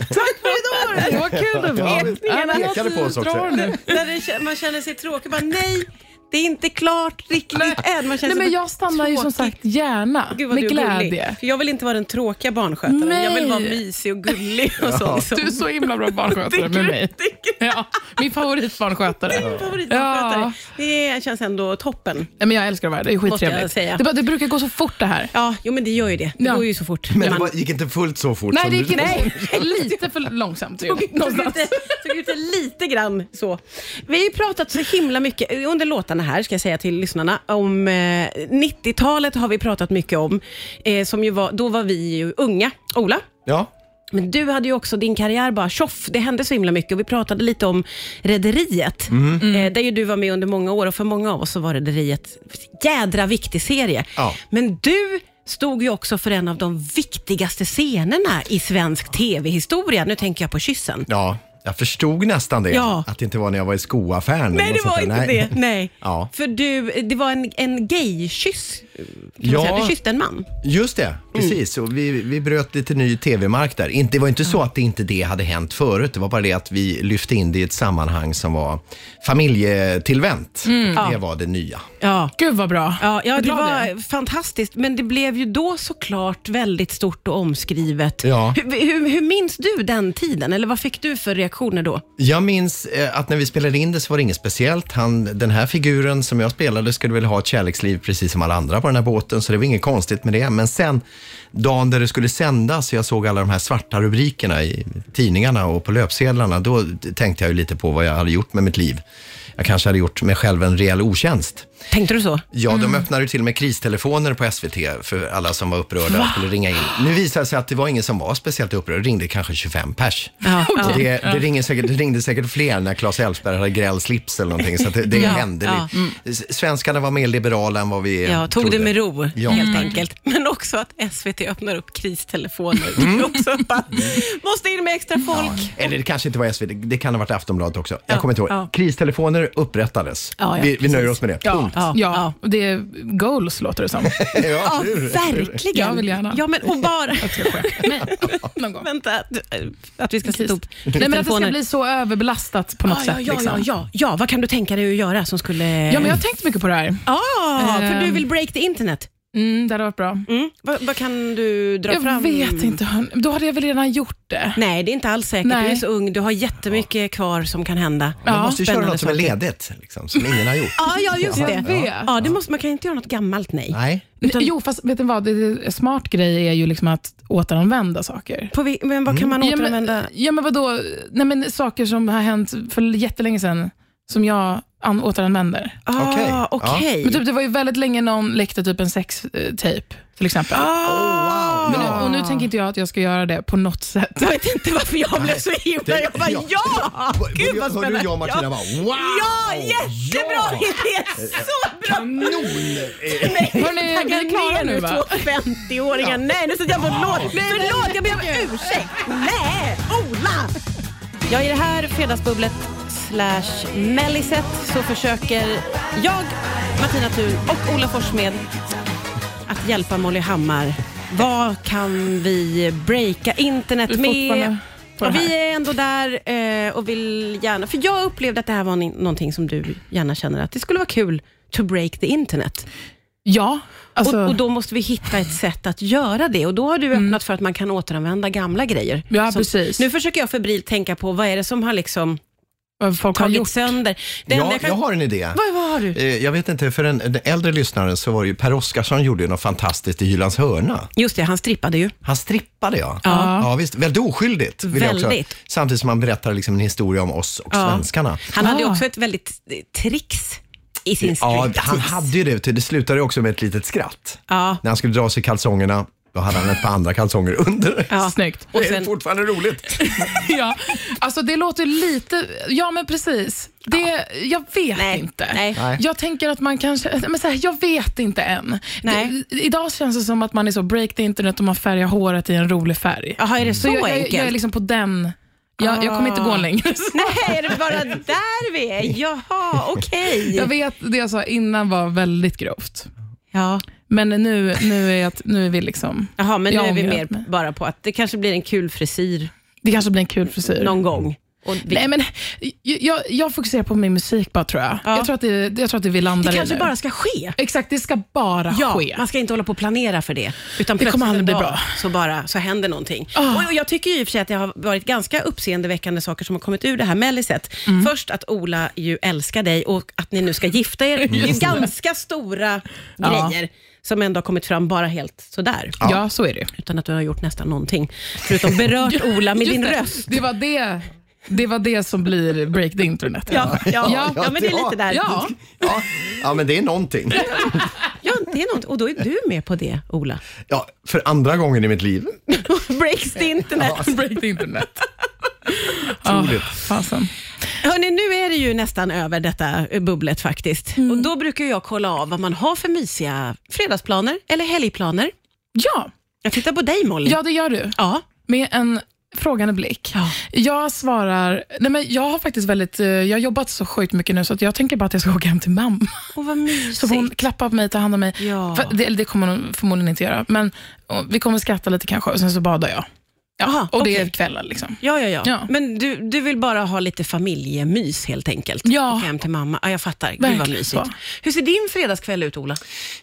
Speaker 1: Tack för idag!
Speaker 3: Vad kul det var.
Speaker 2: Ja, vi
Speaker 3: Ja, men
Speaker 2: pekade på oss också.
Speaker 3: drar nu.
Speaker 1: när det, kän- man känner sig tråkig, bara nej, det är inte klart riktigt än. Man känner
Speaker 3: Nej, men
Speaker 1: sig
Speaker 3: jag stannar ju som
Speaker 1: tråkig.
Speaker 3: sagt gärna
Speaker 1: Gud vad
Speaker 3: med
Speaker 1: du är
Speaker 3: glädje.
Speaker 1: gullig. För jag vill inte vara den tråkiga barnskötaren.
Speaker 3: Nej.
Speaker 1: Jag vill vara mysig och gullig och så. Liksom.
Speaker 3: Du är så himla bra barnskötare med mig.
Speaker 1: Tycker
Speaker 3: Ja, min favoritbarnskötare.
Speaker 1: Min favoritbarnskötare.
Speaker 3: Ja.
Speaker 1: Det känns ändå toppen.
Speaker 3: Nej, men jag älskar att vara här. Det är
Speaker 1: Måste jag
Speaker 3: skittrevligt. Det,
Speaker 1: säga.
Speaker 3: är bara, det brukar gå så fort det här.
Speaker 1: Ja, jo men det gör ju det. Det
Speaker 3: Ja.
Speaker 1: går ju så fort.
Speaker 2: Men det
Speaker 1: Man
Speaker 2: var, gick inte fullt så fort
Speaker 3: Nej,
Speaker 2: som
Speaker 3: det
Speaker 2: du
Speaker 3: gick inte. Lite för långsamt. ju.
Speaker 1: tog ut- tog ut
Speaker 3: Någonstans.
Speaker 1: det- tog ut det lite grann så. Vi har ju pratat så himla mycket eh, under låtarna här, ska jag säga till lyssnarna, om eh, 90-talet har vi pratat mycket om. Eh, som ju var, då var vi ju unga. Ola?
Speaker 2: Ja.
Speaker 1: Men du hade ju också din karriär bara tjoff. Det hände så himla mycket och vi pratade lite om Rederiet. Eh, där ju du var med under många år och för många av oss så var Rederiet en jädra viktig serie.
Speaker 2: Ja.
Speaker 1: Men du stod ju också för en av de viktigaste scenerna i svensk tv-historia. Nu tänker jag på kyssen.
Speaker 2: ja, jag förstod nästan det.
Speaker 1: Ja.
Speaker 2: Att det inte var när jag var i skoaffären. eller
Speaker 1: Nej,
Speaker 2: något
Speaker 1: det var
Speaker 2: sånt
Speaker 1: inte
Speaker 2: där.
Speaker 1: det. Nej.
Speaker 2: Ja.
Speaker 1: För du, det var en, en gay-kyss. kan man
Speaker 2: Ja.
Speaker 1: säga. Du kysste en man.
Speaker 2: Just det, precis. Och vi, vi bröt lite ny tv-mark där. Inte, det var inte så att det inte det hade hänt förut. Det var bara det att vi lyfte in det i ett sammanhang som var familjetillvänt. Det
Speaker 1: Mm. Ja.
Speaker 2: var det nya.
Speaker 1: Ja.
Speaker 3: Gud vad bra.
Speaker 1: Ja, ja
Speaker 3: Vad
Speaker 1: det
Speaker 3: glad jag är.
Speaker 1: var fantastiskt, men det blev ju då såklart väldigt stort och omskrivet.
Speaker 2: Ja.
Speaker 1: Hur, hur, hur minns du den tiden, eller vad fick du för reaktioner då?
Speaker 2: Jag minns eh, att när vi spelade in det så var det inget speciellt. Han, den här figuren som jag spelade skulle väl ha ett kärleksliv precis som alla andra på den här båten, så det var inget konstigt med det. Men sen, dagen där det skulle sändas och jag såg alla de här svarta rubrikerna i tidningarna och på löpsedlarna, då tänkte jag ju lite på vad jag hade gjort med mitt liv. Jag kanske hade gjort mig själv en rejäl otjänst.
Speaker 1: Tänkte du så?
Speaker 2: Ja, de öppnade ju till och med kristelefoner på SVT för alla som var upprörda och skulle ringa in. Nu visade det sig att det var ingen som var speciellt upprörd, det ringde kanske 25 pers.
Speaker 1: Ja,
Speaker 2: Och
Speaker 1: ja.
Speaker 2: Det, det, ringer säkert, det ringde säkert fler när Claes Elfsberg hade gräl slips eller någonting, så att det, det
Speaker 1: Ja,
Speaker 2: hände.
Speaker 1: ja. mm.
Speaker 2: lite. S- Svenskarna var mer liberala än vad vi
Speaker 1: Ja, tog det
Speaker 2: trodde.
Speaker 1: med ro
Speaker 2: Ja.
Speaker 1: helt enkelt. Men också att SVT öppnar upp kristelefoner.
Speaker 3: Mm.
Speaker 1: Också bara, måste in med extra folk.
Speaker 2: Eller det kanske inte var SVT, det kan ha varit Aftonbladet också.
Speaker 1: Ja,
Speaker 2: Jag kommer inte ihåg.
Speaker 1: ja.
Speaker 2: Kristelefoner upprättades.
Speaker 1: Ja, ja,
Speaker 2: vi, vi
Speaker 1: precis.
Speaker 2: nöjer oss med det.
Speaker 3: Ja,
Speaker 2: Punkt.
Speaker 1: Ja,
Speaker 3: ja,
Speaker 1: ja.
Speaker 3: och det är goals låter det som.
Speaker 1: Ja,
Speaker 2: Ja.
Speaker 1: verkligen.
Speaker 3: Jag vill gärna.
Speaker 1: Ja, men och bara...
Speaker 3: Nej, någon gång.
Speaker 1: Vänta, att- att vi ska sätta upp
Speaker 3: Nej, men att det ska
Speaker 1: kristelefoner.
Speaker 3: bli så överbelastat på något
Speaker 1: Ja, ja,
Speaker 3: sätt.
Speaker 1: ja, ja,
Speaker 3: liksom.
Speaker 1: ja, ja, vad kan du tänka dig att göra som skulle...
Speaker 3: Ja, men jag har tänkt mycket på det här.
Speaker 1: Ah, för du
Speaker 3: Ehm.
Speaker 1: vill break the internet.
Speaker 3: Mm, det hade varit bra.
Speaker 1: Mm. Vad, vad kan du dra
Speaker 3: Jag
Speaker 1: fram?
Speaker 3: vet inte. hon- Då hade jag väl redan gjort det.
Speaker 1: Nej, det är inte alls säkert.
Speaker 3: Nej.
Speaker 1: Du är så ung, du har jättemycket kvar som kan hända.
Speaker 2: Man måste ju köra
Speaker 1: Spännande
Speaker 2: något som är
Speaker 1: saker.
Speaker 2: ledigt, liksom, som ingen har gjort.
Speaker 1: Ja, ja just
Speaker 2: Ja.
Speaker 1: det.
Speaker 3: Jag vet.
Speaker 1: Ja, det måste, man kan inte göra något gammalt, nej.
Speaker 2: Nej.
Speaker 1: Utan-
Speaker 3: Jo, fast vet du vad? Det är en smart grej är ju liksom att återanvända saker.
Speaker 1: På vi, men vad kan
Speaker 2: Mm.
Speaker 1: man
Speaker 3: Ja, men,
Speaker 1: återanvända?
Speaker 3: ja, men vadå? Nej, men saker som har hänt för jättelänge sedan som jag an- återanvänder.
Speaker 1: Ah,
Speaker 2: Okej.
Speaker 1: Okej.
Speaker 2: Ja.
Speaker 3: Men typ, det var ju väldigt länge någon läckte typ en sextape. till exempel.
Speaker 2: Oh, wow.
Speaker 3: Men nu,
Speaker 2: Ja.
Speaker 3: och nu tänker inte jag att jag ska göra det på något sätt.
Speaker 1: Jag vet inte varför jag blev så himla...
Speaker 2: det-
Speaker 1: Jag bara,
Speaker 2: ja.
Speaker 1: ja! Ah, Gud vad
Speaker 2: Hörde
Speaker 1: spännande!
Speaker 2: du jag och Martina bara wow!
Speaker 1: Ja, jättebra
Speaker 2: Ja!
Speaker 1: idé! Så bra!
Speaker 2: Kanon! Eh,
Speaker 1: Nej,
Speaker 3: Hörni,
Speaker 1: jag
Speaker 3: vi är klara
Speaker 1: ner
Speaker 3: nu, va?
Speaker 1: två 50-åringar. Nej, nu sätter jag på låt. Förlåt, jag ber om ursäkt. Nej, Ola! Ja, i det här Fredagsbubblet slash Melliset så försöker jag, Martina Thun och Ola Forssmed att hjälpa Molly Hammar. Vad kan vi breaka internet
Speaker 3: Vi är
Speaker 1: med?
Speaker 3: fortfarande på
Speaker 1: Ja,
Speaker 3: det här.
Speaker 1: vi är ändå där eh, och vill gärna... För jag upplevde att det här var ni- någonting som du gärna känner att det skulle vara kul to break the internet.
Speaker 3: Ja, alltså, Mm.
Speaker 1: Och, och då måste vi hitta ett sätt att göra det. Och då har du öppnat för att man kan återanvända gamla grejer.
Speaker 3: Ja,
Speaker 1: Som-
Speaker 3: precis.
Speaker 1: Nu försöker jag febrilt tänka på vad är det som har liksom
Speaker 3: vad folk har
Speaker 1: tagit
Speaker 3: gjort.
Speaker 1: sönder. Det enda
Speaker 2: Ja,
Speaker 1: jag kan-
Speaker 2: jag har en idé.
Speaker 1: vad, vad har du?
Speaker 2: Eh, Jag vet inte, för den, den äldre lyssnaren så var det ju Per Oscarsson gjorde ju något fantastiskt i Hylands hörna.
Speaker 1: Just det, han strippade ju.
Speaker 2: Han strippade ja. Ja, visst. Väldigt oskyldigt. Vill Jag
Speaker 1: Väldigt.
Speaker 2: också. Samtidigt som han berättar liksom en historia om oss och
Speaker 1: Ja.
Speaker 2: svenskarna.
Speaker 1: Han hade ju
Speaker 3: Ah.
Speaker 1: också ett väldigt eh, tricks i sin
Speaker 2: Ja,
Speaker 1: striptease.
Speaker 2: han hade ju det. till- Det slutade ju också med ett litet skratt.
Speaker 1: Ja.
Speaker 2: När han skulle dra sig kalsongerna, då hade han ett par andra kalsonger under.
Speaker 1: Ja.
Speaker 3: Snyggt.
Speaker 1: Och
Speaker 2: Det är
Speaker 1: sen,
Speaker 2: fortfarande roligt.
Speaker 3: ja, alltså det låter lite... Ja, men precis. Det, Jag vet
Speaker 1: Nej,
Speaker 3: inte.
Speaker 1: nej.
Speaker 2: Nej.
Speaker 3: Jag tänker att man kanske... Men så här, jag vet inte än.
Speaker 1: Nej.
Speaker 3: Det, idag känns det som att man är så break the internet och man färgar håret i en rolig färg.
Speaker 1: jaha, är det så
Speaker 3: jag, jag,
Speaker 1: enkelt? Ah.
Speaker 3: jag är liksom på den... Jag, jag kommer inte gå längre.
Speaker 1: Nej, är det bara där vi är? Jaha, okej.
Speaker 3: Jag vet, det jag sa innan var väldigt grovt.
Speaker 1: Ja.
Speaker 3: Men nu, nu, är, jag, nu är vi liksom...
Speaker 1: Jaha, men nu
Speaker 3: Jag
Speaker 1: är vi
Speaker 3: ångrar
Speaker 1: mer
Speaker 3: mig.
Speaker 1: bara på att det kanske blir en kul frisyr
Speaker 3: Det kanske blir en kul frisyr.
Speaker 1: någon gång. Och vi,
Speaker 3: Nej, men jag, jag, jag fokuserar på min musik bara, tror jag.
Speaker 1: Ja.
Speaker 3: Jag, tror att det, jag tror att det vi landar
Speaker 1: det kanske
Speaker 3: i nu.
Speaker 1: bara ska ske.
Speaker 3: Exakt, det ska bara
Speaker 1: Ja,
Speaker 3: ske.
Speaker 1: man ska inte hålla på och planera för det. Utan
Speaker 3: Det kommer
Speaker 1: plötsligt
Speaker 3: aldrig
Speaker 1: en
Speaker 3: bli
Speaker 1: dag
Speaker 3: bra.
Speaker 1: Så, bara, så händer någonting.
Speaker 3: Ah.
Speaker 1: Och jag tycker ju i och för sig att det har varit ganska uppseendeväckande saker som har kommit ur det här melliset.
Speaker 3: Mm.
Speaker 1: Först att Ola ju älskar dig och att ni nu ska gifta er. Det är ju ganska stora
Speaker 3: Ja.
Speaker 1: grejer som ändå har kommit fram bara helt sådär.
Speaker 3: Ja, så är det.
Speaker 1: Utan att du har gjort nästan någonting. Förutom berört Ola med
Speaker 3: Just
Speaker 1: din
Speaker 3: det.
Speaker 1: röst.
Speaker 3: Det var det, det var det som blir break the internet.
Speaker 1: Ja, ja, ja,
Speaker 3: Ja,
Speaker 1: men det är
Speaker 2: ja.
Speaker 1: lite där.
Speaker 3: Ja.
Speaker 2: Ja, ja men det är någonting.
Speaker 1: Ja, det är något. Och då är du med på det, Ola.
Speaker 2: Ja, för andra gången i mitt liv.
Speaker 1: Breaks the internet.
Speaker 3: break the internet. Ja, fasen.
Speaker 1: Hörni, nu är det ju nästan över detta eh, bubblet faktiskt. Och Då brukar jag kolla av vad man har för mysiga fredagsplaner eller helgplaner.
Speaker 3: Ja,
Speaker 1: Jag tittar på dig Molly.
Speaker 3: ja, det gör du.
Speaker 1: Ja.
Speaker 3: Med en frågande blick.
Speaker 1: Ja.
Speaker 3: Jag svarar, nej men jag har faktiskt väldigt, eh, jag har jobbat så sjukt mycket nu så att jag tänker bara att jag ska åka hem till mamma.
Speaker 1: Och vad
Speaker 3: Så
Speaker 1: mysigt.
Speaker 3: får hon klappa på mig, ta hand om mig.
Speaker 1: Ja.
Speaker 3: För- Det, eller det kommer hon förmodligen inte göra, men och, vi kommer skratta lite kanske och sen så badar jag. Ja,
Speaker 1: Aha,
Speaker 3: och det är
Speaker 1: okej.
Speaker 3: kvällar liksom.
Speaker 1: Ja, ja, ja,
Speaker 3: Ja.
Speaker 1: Men du, du vill bara ha lite familjemys helt enkelt.
Speaker 3: Ja.
Speaker 1: Åka hem till mamma. Ja, jag fattar. Gud vad
Speaker 3: Verkligen
Speaker 1: mysigt.
Speaker 3: så.
Speaker 1: Hur ser din fredagskväll ut, Ola?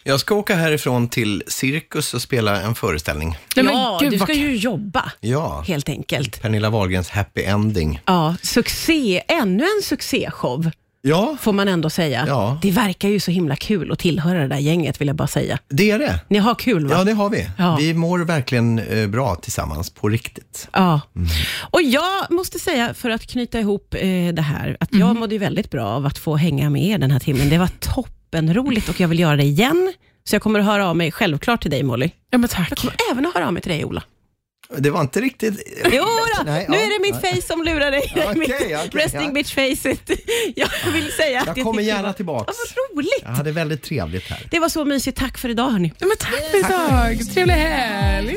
Speaker 2: Jag ska åka härifrån till Cirkus och spela en föreställning.
Speaker 3: Nej, men
Speaker 1: ja,
Speaker 3: gud,
Speaker 1: du
Speaker 3: vad
Speaker 1: ska
Speaker 3: kul.
Speaker 1: ju jobba,
Speaker 2: Ja,
Speaker 1: helt enkelt.
Speaker 2: Pernilla Wahlgrens happy ending.
Speaker 1: Ja, succé. Ännu en succéshow,
Speaker 2: Ja,
Speaker 1: får man ändå säga.
Speaker 2: Ja.
Speaker 1: Det verkar ju så himla kul att tillhöra det där gänget, vill jag bara säga.
Speaker 2: det är det.
Speaker 1: Ni har kul, va?
Speaker 2: Ja, det har vi.
Speaker 1: Ja.
Speaker 2: Vi mår verkligen eh, bra tillsammans, på riktigt.
Speaker 1: Ja.
Speaker 2: Mm.
Speaker 1: Och jag måste säga, för att knyta ihop eh, det här, att
Speaker 3: Mm.
Speaker 1: jag mådde ju väldigt bra av att få hänga med er den här timmen. Det var toppenroligt och jag vill göra det igen. Så jag kommer att höra av mig, självklart till dig Molly.
Speaker 3: Ja, men tack.
Speaker 1: Jag kommer även att höra av mig till dig Ola.
Speaker 2: Det var inte riktigt...
Speaker 1: Jo då,
Speaker 2: Nej,
Speaker 1: nu
Speaker 2: ja,
Speaker 1: är det mitt face som lurar dig.
Speaker 2: Ja, okej,
Speaker 1: Mitt
Speaker 2: okej,
Speaker 1: resting
Speaker 2: ja.
Speaker 1: bitch face. Jag vill säga att
Speaker 2: Jag kommer
Speaker 1: tyckte
Speaker 2: gärna
Speaker 1: var-
Speaker 2: tillbaks.
Speaker 1: Ja, vad roligt.
Speaker 2: Jag hade väldigt trevligt här.
Speaker 1: Det var så mysigt. Tack för idag hörni.
Speaker 3: Ja, men tack för idag. Trevlig helg.